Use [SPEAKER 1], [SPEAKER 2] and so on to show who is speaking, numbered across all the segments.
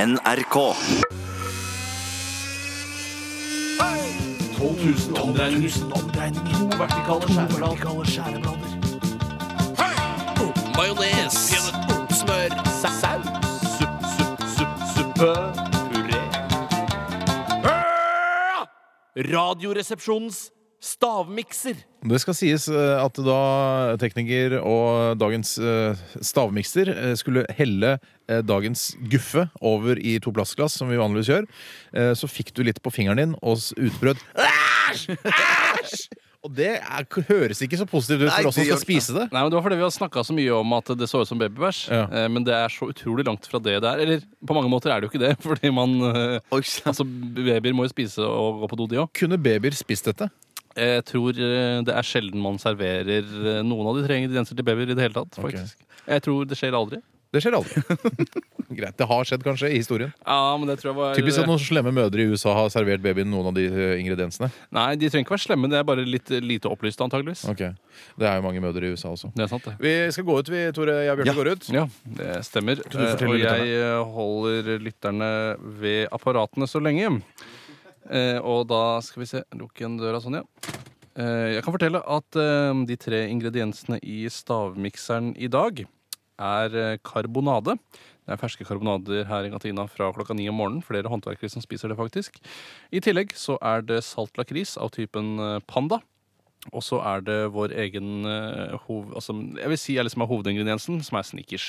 [SPEAKER 1] NRK.
[SPEAKER 2] 12 000 omdreininger. To vertikale skjæreblader. Majones. Smør. Saus. Supp, supp, supp, suppe. Puré. Ah! Radioresepsjonens stavmikser.
[SPEAKER 3] Det skal sies eh, at da tekniker og dagens eh, stavmikser eh, skulle helle eh, dagens guffe over i to plastglass, som vi vanligvis gjør, eh, så fikk du litt på fingeren din og s- utbrøt Æsj! Æsj! Og det er, høres ikke så positivt ut
[SPEAKER 1] Nei,
[SPEAKER 3] for oss som
[SPEAKER 1] det
[SPEAKER 3] skal
[SPEAKER 1] gjør
[SPEAKER 3] spise det.
[SPEAKER 4] Nei, men Det var fordi vi har snakka så mye om at det så ut som babybæsj.
[SPEAKER 3] Ja.
[SPEAKER 4] Eh, Men det er så utrolig langt fra det det er. Eller på mange måter er det jo ikke det, fordi man eh,
[SPEAKER 1] Oi, sant.
[SPEAKER 4] Altså, babyer må jo spise og gå på do, de òg.
[SPEAKER 3] Kunne babyer spist dette?
[SPEAKER 4] Jeg tror eh, det er sjelden man serverer eh, noen av de tre ingredienser til babyer i det hele tatt.
[SPEAKER 3] Ok.
[SPEAKER 4] faktisk. Jeg tror det skjer aldri.
[SPEAKER 3] Det skjer aldri. Greit. Det har skjedd, kanskje, i historien.
[SPEAKER 4] Ja, men det tror jeg var
[SPEAKER 3] Typisk at noen slemme mødre i USA har servert babyen noen av de eh, ingrediensene.
[SPEAKER 4] Nei, de trenger ikke være slemme, det er bare litt eh, lite opplyst, antageligvis.
[SPEAKER 3] Ok, Det er jo mange mødre i USA også.
[SPEAKER 4] Det er sant, det.
[SPEAKER 3] Vi skal gå ut, vi, Tore. Jeg og Bjarte
[SPEAKER 1] Ja.
[SPEAKER 3] går ut.
[SPEAKER 4] Ja, det stemmer.
[SPEAKER 3] du
[SPEAKER 4] Eh,
[SPEAKER 3] forteller
[SPEAKER 4] Og jeg eh, holder lytterne ved apparatene så lenge. Eh, Og da skal vi se Lukk igjen døra sånn, ja. Eh, Jeg kan fortelle at eh, de tre ingrediensene i stavmikseren i dag er eh, karbonade. Det er ferske karbonader her i kantina fra klokka ni om morgenen. Flere håndverkere som spiser det, faktisk. I tillegg så er det salt lakris av typen eh, panda. Og så er det vår egen eh, hov... Altså, jeg vil si er liksom er hovedingrediensen, som er snickers.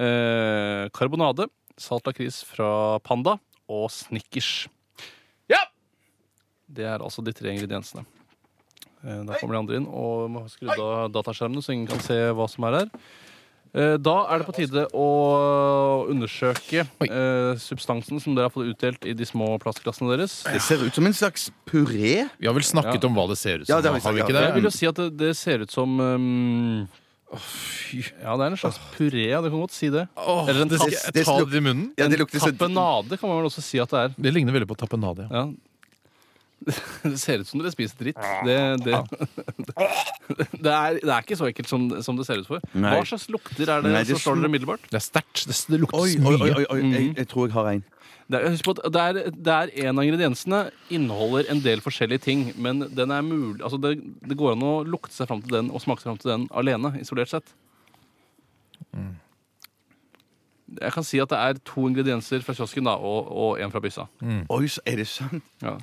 [SPEAKER 4] Eh, karbonade, salt lakris fra Panda og snickers. Ja! Det er altså de tre ingrediensene. Eh, da kommer de andre inn og må skru av dataskjermene, så ingen kan se hva som er her. Eh, Da er det på tide å undersøke eh, substansen som dere har fått utdelt i de små plastglassene deres.
[SPEAKER 1] Det ser ut som en slags puré.
[SPEAKER 3] Vi har vel snakket
[SPEAKER 4] Ja.
[SPEAKER 3] om hva det ser ut som.
[SPEAKER 1] Ja, det har vi
[SPEAKER 3] har vi
[SPEAKER 1] sagt,
[SPEAKER 3] ikke
[SPEAKER 1] ja.
[SPEAKER 3] det?
[SPEAKER 4] Jeg vil jo si at det, det ser ut som um, Ja, det er en slags puré. ja, Du kan godt si det.
[SPEAKER 3] Åh,
[SPEAKER 4] Eller en
[SPEAKER 3] det,
[SPEAKER 4] tapp-
[SPEAKER 3] skal jeg
[SPEAKER 1] det
[SPEAKER 3] ta
[SPEAKER 1] sluk-
[SPEAKER 3] det i munnen?
[SPEAKER 1] Ja, det
[SPEAKER 4] en
[SPEAKER 1] lukter sånn- så-
[SPEAKER 4] tapenade kan man vel også si at det er.
[SPEAKER 3] Det ligner veldig på tapenade. Ja.
[SPEAKER 4] Ja. Det ser ut som dere spiser dritt. Det, det, det, er, det er ikke så ekkelt som, som det ser ut for.
[SPEAKER 1] Nei.
[SPEAKER 4] Hva slags lukter er det,
[SPEAKER 1] Nei, det
[SPEAKER 4] som slår
[SPEAKER 1] sm-
[SPEAKER 4] dere umiddelbart?
[SPEAKER 3] Det er sterkt. Det, det lukter
[SPEAKER 1] Oi,
[SPEAKER 3] så
[SPEAKER 1] oi,
[SPEAKER 3] mye.
[SPEAKER 1] oi, oi. Jeg, jeg tror jeg har en.
[SPEAKER 4] Det er, husk på at det er, det er en av ingrediensene inneholder en del forskjellige ting, men den er mulig, altså det, det går an å lukte seg fram til den og smake seg fram til den alene, isolert sett.
[SPEAKER 1] Mm.
[SPEAKER 4] Jeg kan si at det er to ingredienser fra kiosken da, og, og en fra byssa.
[SPEAKER 3] Mm.
[SPEAKER 1] Oi, så er det sant?
[SPEAKER 4] Ja.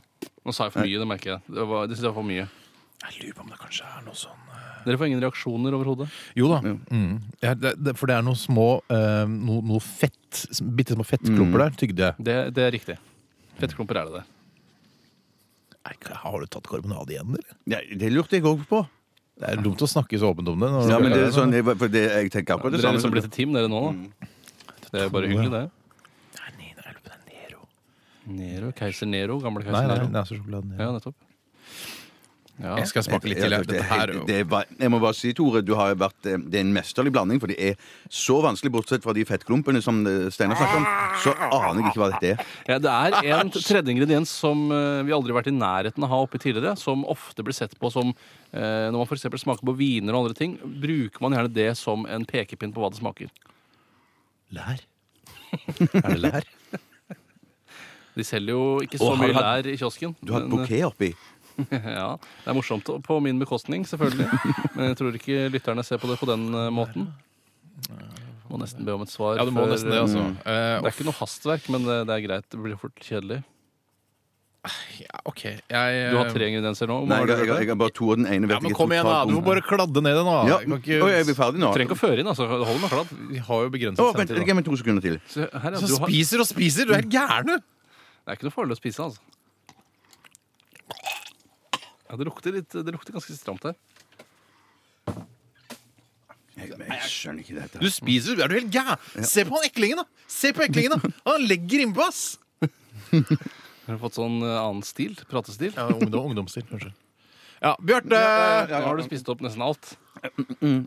[SPEAKER 4] Nå sa jeg for mye, det merker jeg. Det, var, det synes jeg var for mye.
[SPEAKER 3] Jeg lurer på om det kanskje er noe sånn
[SPEAKER 4] Dere får ingen reaksjoner overhodet.
[SPEAKER 3] Jo da. Mm. Ja, det, det, for det er noe små eh, Noe no fett Bitte små
[SPEAKER 1] Mm.
[SPEAKER 3] fettklumper der, tygde jeg.
[SPEAKER 4] Det, det er riktig. Fettklumper er det der.
[SPEAKER 3] Nei, Har du tatt karbonade igjen, eller?
[SPEAKER 1] Ja, det lurte jeg òg på.
[SPEAKER 3] Det er dumt å snakke så åpent om det. når
[SPEAKER 1] Ja,
[SPEAKER 3] du-
[SPEAKER 1] men det er sånn, jeg, for det, jeg tenker akkurat det
[SPEAKER 4] Dere er
[SPEAKER 1] samme.
[SPEAKER 4] liksom
[SPEAKER 1] Mm.
[SPEAKER 4] blitt et team, dere nå. Da. Det er bare hyggelig, det.
[SPEAKER 3] Nei, nei, nei, det er Nero.
[SPEAKER 4] Nero, keiser Nero, gamle
[SPEAKER 3] Nei,
[SPEAKER 4] keiser
[SPEAKER 3] nei,
[SPEAKER 4] Nero.
[SPEAKER 3] det er så sjokoladen.
[SPEAKER 4] Ja,
[SPEAKER 3] Nero.
[SPEAKER 4] nettopp. Ja.
[SPEAKER 3] Jeg skal smake litt til.
[SPEAKER 1] Ja,
[SPEAKER 3] jeg. Dette her
[SPEAKER 1] det, det er bare- jeg må bare si, Tore, du har jo vært, eh, det er en mesterlig blanding. For det er så vanskelig, bortsett fra de fettklumpene som eh, Steinar snakker om, så aner jeg ikke hva dette er.
[SPEAKER 4] Ja, det er
[SPEAKER 1] Ah,
[SPEAKER 4] en tredje ingrediens som eh, vi aldri har vært i nærheten av å ha oppi tidligere, som ofte blir sett på som eh, Når man f.eks. smaker på viner og andre ting, bruker man gjerne det som en pekepinn på hva det smaker.
[SPEAKER 3] Lær? Er det lær?
[SPEAKER 4] De selger jo ikke så
[SPEAKER 1] Og har
[SPEAKER 4] mye
[SPEAKER 1] du hatt-
[SPEAKER 4] lær i kiosken.
[SPEAKER 1] Du har et
[SPEAKER 4] men, eh,
[SPEAKER 1] bouquet oppi.
[SPEAKER 4] ja, Det er morsomt og på min bekostning, selvfølgelig. Men jeg tror ikke lytterne ser på det på den eh, måten. Må nesten be om et svar.
[SPEAKER 3] Ja, du må
[SPEAKER 4] før-
[SPEAKER 3] nesten det, altså.
[SPEAKER 1] Mm.
[SPEAKER 3] Eh,
[SPEAKER 4] Det er ikke noe hastverk, men eh, det, det er greit. Det blir fort kjedelig.
[SPEAKER 3] ja, OK. Jeg
[SPEAKER 4] Du har tre ingredienser nå. Hvor
[SPEAKER 1] Nei,
[SPEAKER 4] mange
[SPEAKER 1] jeg, jeg,
[SPEAKER 4] har du hørt
[SPEAKER 1] jeg
[SPEAKER 4] det?
[SPEAKER 1] har bare to av den ene. vet
[SPEAKER 3] Ja, men
[SPEAKER 1] ikke
[SPEAKER 3] kom igjen, da!
[SPEAKER 1] totalt
[SPEAKER 3] Du må
[SPEAKER 1] om-
[SPEAKER 3] bare kladde ned det nå.
[SPEAKER 1] ja.
[SPEAKER 3] Jeg kan ikke-
[SPEAKER 1] Oi, er vi ferdige nå?
[SPEAKER 4] Du trenger ikke å føre inn, altså. Hold med kladd.
[SPEAKER 3] Vi har jo begrenset
[SPEAKER 1] Å, vent,
[SPEAKER 3] sendetid, da.
[SPEAKER 1] Gi meg to sekunder til.
[SPEAKER 4] Så her, ja,
[SPEAKER 3] Så
[SPEAKER 4] du har, det
[SPEAKER 3] spiser og spiser! Du er helt gæren, du!
[SPEAKER 4] er ikke noe farlig å spise, altså. Ja, det lukter, litt, det lukter ganske stramt her.
[SPEAKER 1] Jeg, men jeg skjønner ikke dette.
[SPEAKER 3] Du spiser, er du helt gæren? Se på han eklingen, da! Se på eklingen, da! Han legger innpå, ass!
[SPEAKER 4] Har du fått sånn eh, annen stil? Pratestil?
[SPEAKER 3] Ja, ungdom, ungdomsstil, kanskje. Ja, Bjarte!
[SPEAKER 4] Nå har du spist opp nesten alt.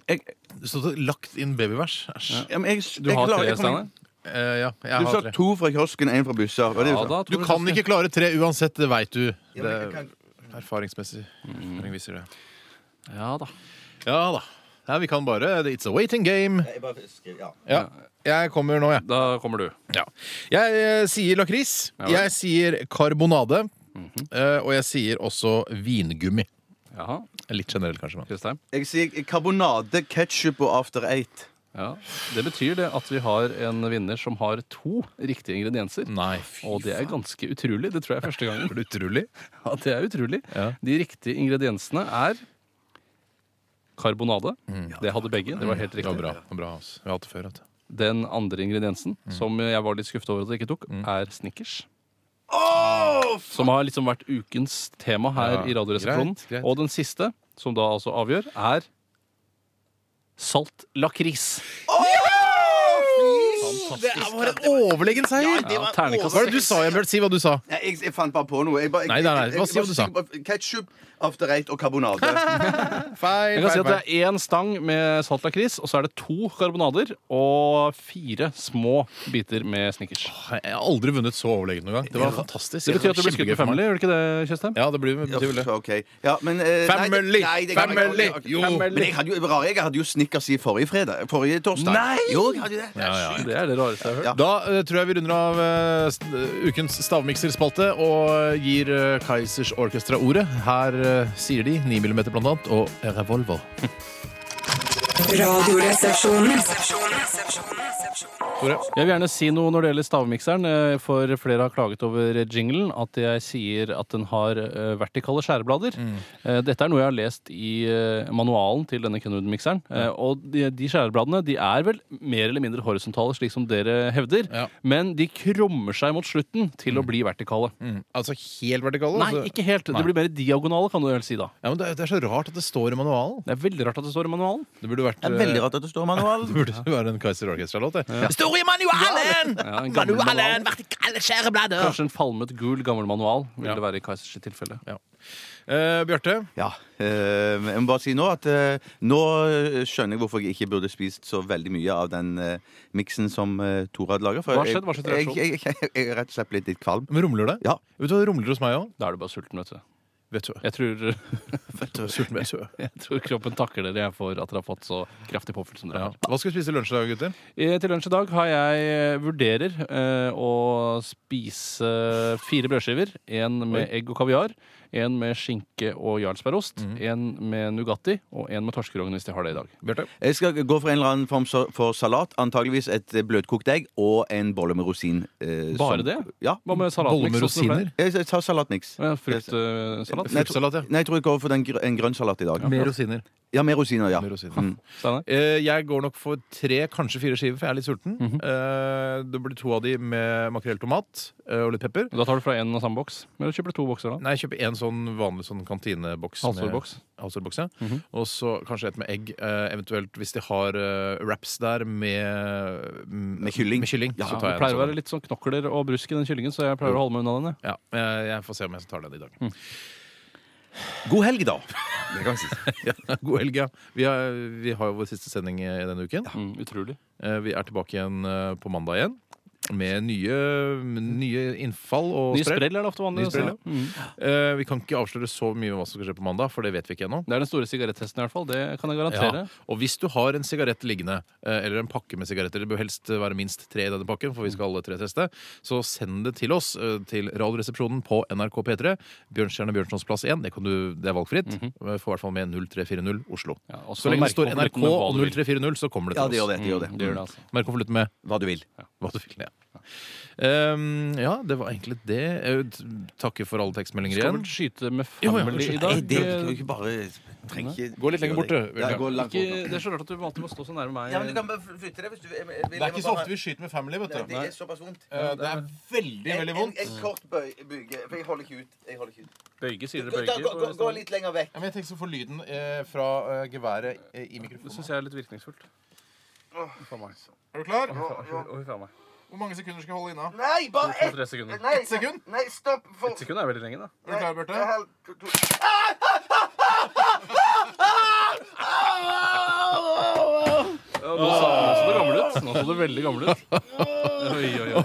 [SPEAKER 1] Jeg,
[SPEAKER 3] Du stod og lagt inn babyvers. Æsj.
[SPEAKER 1] ja, men jeg,
[SPEAKER 4] Du
[SPEAKER 1] jeg
[SPEAKER 4] har
[SPEAKER 1] klarer-
[SPEAKER 4] tre,
[SPEAKER 1] jeg kommer-
[SPEAKER 4] Steinar.
[SPEAKER 3] Eh, ja, jeg
[SPEAKER 1] Du
[SPEAKER 3] har
[SPEAKER 1] sa
[SPEAKER 3] tre.
[SPEAKER 1] to fra kiosken, én fra busser. Hva er sånn. det
[SPEAKER 4] Ja, da,
[SPEAKER 1] sa?
[SPEAKER 3] Du
[SPEAKER 4] Tore,
[SPEAKER 3] kan
[SPEAKER 4] skal-
[SPEAKER 3] ikke klare tre uansett, det veit du.
[SPEAKER 1] Ja, men Mm. jeg
[SPEAKER 3] Det, erfaringsmessig. Erfaring viser det.
[SPEAKER 4] Ja da.
[SPEAKER 3] Ja da. Ja, vi kan bare It's a waiting game.
[SPEAKER 1] Jeg bare skriver, ja.
[SPEAKER 3] Ja. Jeg kommer nå, jeg.
[SPEAKER 4] Da kommer du.
[SPEAKER 3] Ja. Jeg eh, sier lakris.
[SPEAKER 4] vel.
[SPEAKER 3] Jeg sier karbonade. eh, Og jeg sier også vingummi.
[SPEAKER 4] Jaha.
[SPEAKER 3] Litt generelt, kanskje. Men.
[SPEAKER 4] Kristheim.
[SPEAKER 1] Jeg sier karbonade, ketsjup og After Eight.
[SPEAKER 4] Ja. Det betyr det at vi har en vinner som har to riktige ingredienser.
[SPEAKER 3] Nei, Mm. fy
[SPEAKER 4] Og det er ganske utrolig. Det tror jeg er første gangen.
[SPEAKER 3] f- utrolig.
[SPEAKER 4] Ja, det er utrolig.
[SPEAKER 3] Ja.
[SPEAKER 4] De riktige ingrediensene er karbonade. Det hadde begge. Det var helt
[SPEAKER 3] Mm. Det var bra.
[SPEAKER 4] riktig.
[SPEAKER 3] Det var bra altså. Vi har hatt det før. Vet du.
[SPEAKER 4] Den andre ingrediensen,
[SPEAKER 3] Mm.
[SPEAKER 4] som jeg var litt skuffet over at jeg ikke tok, er Snickers. som har liksom vært ukens tema her
[SPEAKER 3] Ja,
[SPEAKER 4] i Radioresepsjonen.
[SPEAKER 3] greit, greit.
[SPEAKER 4] Og den siste, som da altså avgjør, er salt lakris.
[SPEAKER 3] Det var en overlegen seier!
[SPEAKER 4] Ja, terningkast
[SPEAKER 3] Hva var det du sa, Bjørn? Si hva du sa.
[SPEAKER 1] Nei, jeg, jeg fant bare på noe. Jeg bare, jeg,
[SPEAKER 3] Nei, nei, nei, hva sier du sa?
[SPEAKER 1] Ketsjup, After Eight og karbonade.
[SPEAKER 3] Feil,
[SPEAKER 4] Jeg kan si at det er én stang med salt lakris, og så er det to karbonader og fire små biter med Snickers.
[SPEAKER 3] Jeg har aldri vunnet så overlegent noen gang. Det var fantastisk.
[SPEAKER 4] Det betyr at du blir skutt med family, gjør det ikke det, Tjøstheim?
[SPEAKER 3] Ja, det blir,
[SPEAKER 1] Ja,
[SPEAKER 3] betyr vel det.
[SPEAKER 1] ok. Ja, men, eh, nei, det-
[SPEAKER 3] Family!
[SPEAKER 1] nei, det kan jeg
[SPEAKER 3] Family!
[SPEAKER 1] ikke-
[SPEAKER 3] Jo!
[SPEAKER 1] Men jeg hadde jo, det var rare, jeg hadde jo Snickers i forrige fredag. Forrige torsdag. Nei! Jo, jeg hadde det.
[SPEAKER 3] Ja, ja.
[SPEAKER 4] Det er det rareste jeg har hørt.
[SPEAKER 1] Ja.
[SPEAKER 3] Da eh, tror jeg vi runder av eh, st- eh, ukens stavmikserspalte og gir eh, Kaizers Orkestra ordet. Her eh, sier de 9 mm blant annet og revolver.
[SPEAKER 5] Radioresepsjonen.
[SPEAKER 3] Tore?
[SPEAKER 4] Jeg vil gjerne si noe når det gjelder stavmikseren, eh, for flere har klaget over jinglen. At jeg sier at den har eh, vertikale skjæreblader.
[SPEAKER 3] Mm.
[SPEAKER 4] Eh, Dette er noe jeg har lest i eh, manualen til denne Kenwood-mikseren. Eh, Og de, de skjærebladene de er vel mer eller mindre horisontale, slik som dere hevder.
[SPEAKER 3] Ja. Mm.
[SPEAKER 4] Men de krummer seg mot slutten til å bli vertikale.
[SPEAKER 3] Altså helt vertikale?
[SPEAKER 1] Altså,
[SPEAKER 3] altså.
[SPEAKER 4] Nei, ikke helt.
[SPEAKER 3] Nei.
[SPEAKER 4] Det blir mer diagonale, kan du vel si da.
[SPEAKER 3] Ja, men det, er- det er så rart at det står i manualen.
[SPEAKER 4] Det er veldig rart at det står i manualen.
[SPEAKER 3] Det burde vært
[SPEAKER 1] Det er veldig rart at det står manual.
[SPEAKER 3] Det burde være en Kaiser Orkestra-låt. det.
[SPEAKER 6] Stor i manualen!
[SPEAKER 4] Ja, en gammel
[SPEAKER 6] Manualen,
[SPEAKER 4] manual.
[SPEAKER 6] vertikale skjæreblader.
[SPEAKER 4] Kanskje en falmet gul, gammel manual vil
[SPEAKER 3] Ja.
[SPEAKER 4] det være i Kaizers tilfelle.
[SPEAKER 3] Eh, Bjarte,
[SPEAKER 1] Ja. eh, jeg må bare si nå at eh, nå eh, skjønner jeg hvorfor jeg ikke burde spist så veldig mye av den eh, miksen som eh, Tor hadde laga.
[SPEAKER 4] Hva har skjedd? Hva har skjedd
[SPEAKER 1] Jeg,
[SPEAKER 4] reaksjon?
[SPEAKER 1] jeg, jeg, jeg, jeg er rett og slett blitt litt kvalm.
[SPEAKER 3] men rumler det?
[SPEAKER 1] Ja.
[SPEAKER 3] Vet du hva det rumler hos meg òg?
[SPEAKER 4] Da er du bare sulten, vet du.
[SPEAKER 3] Vet du.
[SPEAKER 4] Jeg tror
[SPEAKER 3] Vet du. Sulten vet du.
[SPEAKER 4] Jeg tror kroppen takler dere for at dere har fått så kraftig påfyll som dere
[SPEAKER 3] Ja.
[SPEAKER 4] har.
[SPEAKER 3] Hva skal vi spise i lunsj i dag, gutter?
[SPEAKER 4] I- Til lunsj i dag har jeg vurderer eh, å spise eh, fire brødskiver. En med egg og kaviar, en med skinke og jarlsbergost,
[SPEAKER 1] Mhm.
[SPEAKER 4] en med Nugatti og en med torskerogn hvis de har det i dag.
[SPEAKER 3] Bjarte?
[SPEAKER 1] Jeg skal gå for en eller annen form så- for salat. Antageligvis et eh, bløtkokt egg og en bolle med rosin. eh,
[SPEAKER 4] Bare
[SPEAKER 1] som-
[SPEAKER 4] det?
[SPEAKER 1] Ja.
[SPEAKER 4] Hva med salatmiks?
[SPEAKER 3] Bolle med
[SPEAKER 4] Sånn som det
[SPEAKER 3] rosiner?
[SPEAKER 1] Jeg tar salatmiks.
[SPEAKER 4] pleier? Ja, Fruktsalat?
[SPEAKER 1] Nei, jeg tror-
[SPEAKER 3] Fruktsalat, ja.
[SPEAKER 1] Nei, jeg tror jeg går for den gr en grønn salat i dag.
[SPEAKER 3] Med rosiner.
[SPEAKER 1] Ja, med rosiner, ja.
[SPEAKER 3] Med rosiner.
[SPEAKER 1] Mm.
[SPEAKER 4] Steinar?
[SPEAKER 3] Eh, Jeg går nok for tre, kanskje fire skiver, for jeg er litt sulten. Eh, Det blir to av de med makrell tomat eh, og litt pepper.
[SPEAKER 4] Da tar du fra én og samme boks? Eller kjøper du to bokser, da?
[SPEAKER 3] Nei, jeg kjøper en sånn vanlig sånn kantineboks. med-
[SPEAKER 4] Halvstorboks?
[SPEAKER 3] Halvsårboks, ja.
[SPEAKER 4] Mhm.
[SPEAKER 3] Og så kanskje et med egg. eh, Eventuelt hvis de har eh, wraps der med mm,
[SPEAKER 1] Med kylling.
[SPEAKER 3] Med kylling
[SPEAKER 1] Ja,
[SPEAKER 3] så
[SPEAKER 4] Ja,
[SPEAKER 3] tar
[SPEAKER 4] det
[SPEAKER 3] jeg en
[SPEAKER 4] pleier å
[SPEAKER 3] sånn. Mm.
[SPEAKER 4] være litt sånn knokler og brusk i den kyllingen, så jeg pleier å holde meg unna den. jeg.
[SPEAKER 3] Ja, jeg, jeg får se om jeg tar den i dag.
[SPEAKER 4] Mm.
[SPEAKER 1] God helg, da.
[SPEAKER 3] God helg, ja. Vi har, vi har jo vår siste sending i denne uken.
[SPEAKER 4] Mm, utrolig.
[SPEAKER 3] Eh, Vi er tilbake igjen eh, på mandag igjen. Med nye, nye innfall og
[SPEAKER 4] Nye
[SPEAKER 3] sprell.
[SPEAKER 4] sprell er det ofte vanlig.
[SPEAKER 3] Nye sprell,
[SPEAKER 4] altså. Mm.
[SPEAKER 3] Eh, Vi kan ikke avsløre så mye om hva som skal skje på mandag, for det vet vi ikke ennå.
[SPEAKER 4] Det er den store sigarettesten, i hvert fall. Det kan jeg
[SPEAKER 3] Ja.
[SPEAKER 4] garantere.
[SPEAKER 3] Og hvis du har en sigarett liggende, eh, eller en pakke med sigaretter, det bør helst eh, være minst tre i denne pakken, for vi skal alle tre teste, så send det til oss, eh, til Radioresepsjonen på NRK P3, Bjørnstjerne Bjørnsons plass 1, det, kan du, det er valgfritt. Eh, Få i hvert fall med 0340 Oslo.
[SPEAKER 4] Ja, og
[SPEAKER 3] Så
[SPEAKER 4] så
[SPEAKER 3] lenge det
[SPEAKER 4] merk
[SPEAKER 3] står
[SPEAKER 4] på
[SPEAKER 3] NRK
[SPEAKER 4] konvolutten med hva
[SPEAKER 3] og
[SPEAKER 4] du vil.
[SPEAKER 3] 0340, så kommer det til
[SPEAKER 1] Ja,
[SPEAKER 3] oss.
[SPEAKER 1] det gjør det. det, gjør det.
[SPEAKER 4] Mm, det gjør det, altså.
[SPEAKER 3] Merk konvolutten med
[SPEAKER 1] Hva du vil.
[SPEAKER 3] hva du vil. Ja. Ehm, ja, det var egentlig det. Jeg vil takke for alle tekstmeldinger
[SPEAKER 4] Skal
[SPEAKER 3] igjen.
[SPEAKER 4] vel skyte med
[SPEAKER 3] Jo, ja,
[SPEAKER 4] family
[SPEAKER 3] unnskyld.
[SPEAKER 4] i
[SPEAKER 1] Nei, Eh,
[SPEAKER 4] dag?
[SPEAKER 1] det kan du ikke bare trenger ikke
[SPEAKER 3] Gå litt lenger bort, du.
[SPEAKER 1] Ja, gå langt
[SPEAKER 4] Ikke,
[SPEAKER 1] bort.
[SPEAKER 4] det er så rart at du alltid må stå så nærme meg.
[SPEAKER 1] Ja, men du kan
[SPEAKER 3] Eh,
[SPEAKER 1] bare flytte deg hvis du vil. Jeg vil bare-
[SPEAKER 3] vi skyter med family, vet eh,
[SPEAKER 1] Nei, Det er såpass vondt.
[SPEAKER 3] Det er veldig,
[SPEAKER 1] En, en, en kort bøy, bøyge, for jeg holder ikke ut. Jeg holder ikke ut.
[SPEAKER 4] Bøyge, sier
[SPEAKER 1] Gå,
[SPEAKER 4] dere
[SPEAKER 1] da, gå, gå,
[SPEAKER 4] bøyge?
[SPEAKER 1] gå
[SPEAKER 4] på- sånn-
[SPEAKER 1] litt lenger vekk.
[SPEAKER 3] jeg tenkte å få lyden eh, fra geværet eh, i
[SPEAKER 4] Det
[SPEAKER 3] mikrofonen.
[SPEAKER 4] syns jeg er litt virkningsfullt. Uff a meg.
[SPEAKER 3] Er du klar?
[SPEAKER 4] Uff a meg.
[SPEAKER 3] Hvor mange sekunder skal jeg holde inna?
[SPEAKER 1] Nei, bare ett!
[SPEAKER 4] Tre sekunder.
[SPEAKER 1] Nei,
[SPEAKER 3] Ett sekund?
[SPEAKER 1] Nei, stopp. For,
[SPEAKER 4] Et sekund er veldig lenge, da.
[SPEAKER 3] Er du klar, Bjarte?
[SPEAKER 1] Hel- to- to-
[SPEAKER 4] Ja, Nå så, nå så du gammel ut. Nå så du veldig gammel ut. Oi, oi, oi.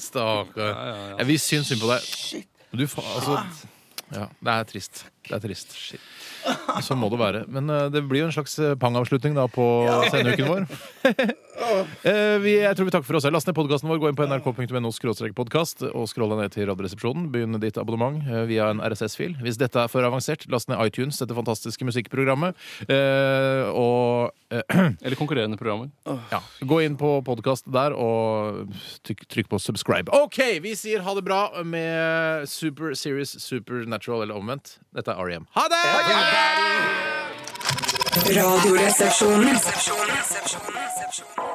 [SPEAKER 3] Stakkar.
[SPEAKER 4] ja, ja.
[SPEAKER 3] Ja, Vi syns synd på deg. Men Du, fa altså, ja, det er trist. Det er trist. Sånn må det være. Men eh, det blir jo en slags eh, pangavslutning da på sendeuken vår. Eh, vi, jeg tror vi takker for oss selv. Last ned podkasten vår, gå inn på nrk.no podkast og skroll deg ned til Radioresepsjonen. Begynn ditt abonnement eh, via en RSS-fil. Hvis dette er for avansert, last ned iTunes, dette fantastiske musikkprogrammet. Eh, og eh,
[SPEAKER 4] Eller konkurrerende programmer.
[SPEAKER 3] ja, gå inn på podkast der og trykk, trykk på subscribe. OK, vi sier ha det bra med Super Series Supernatural, eller omvendt. Dette er REM. Ha det!
[SPEAKER 5] Radioresepsjonen. Resepsjonen. Resepsjonen. Resepsjonen.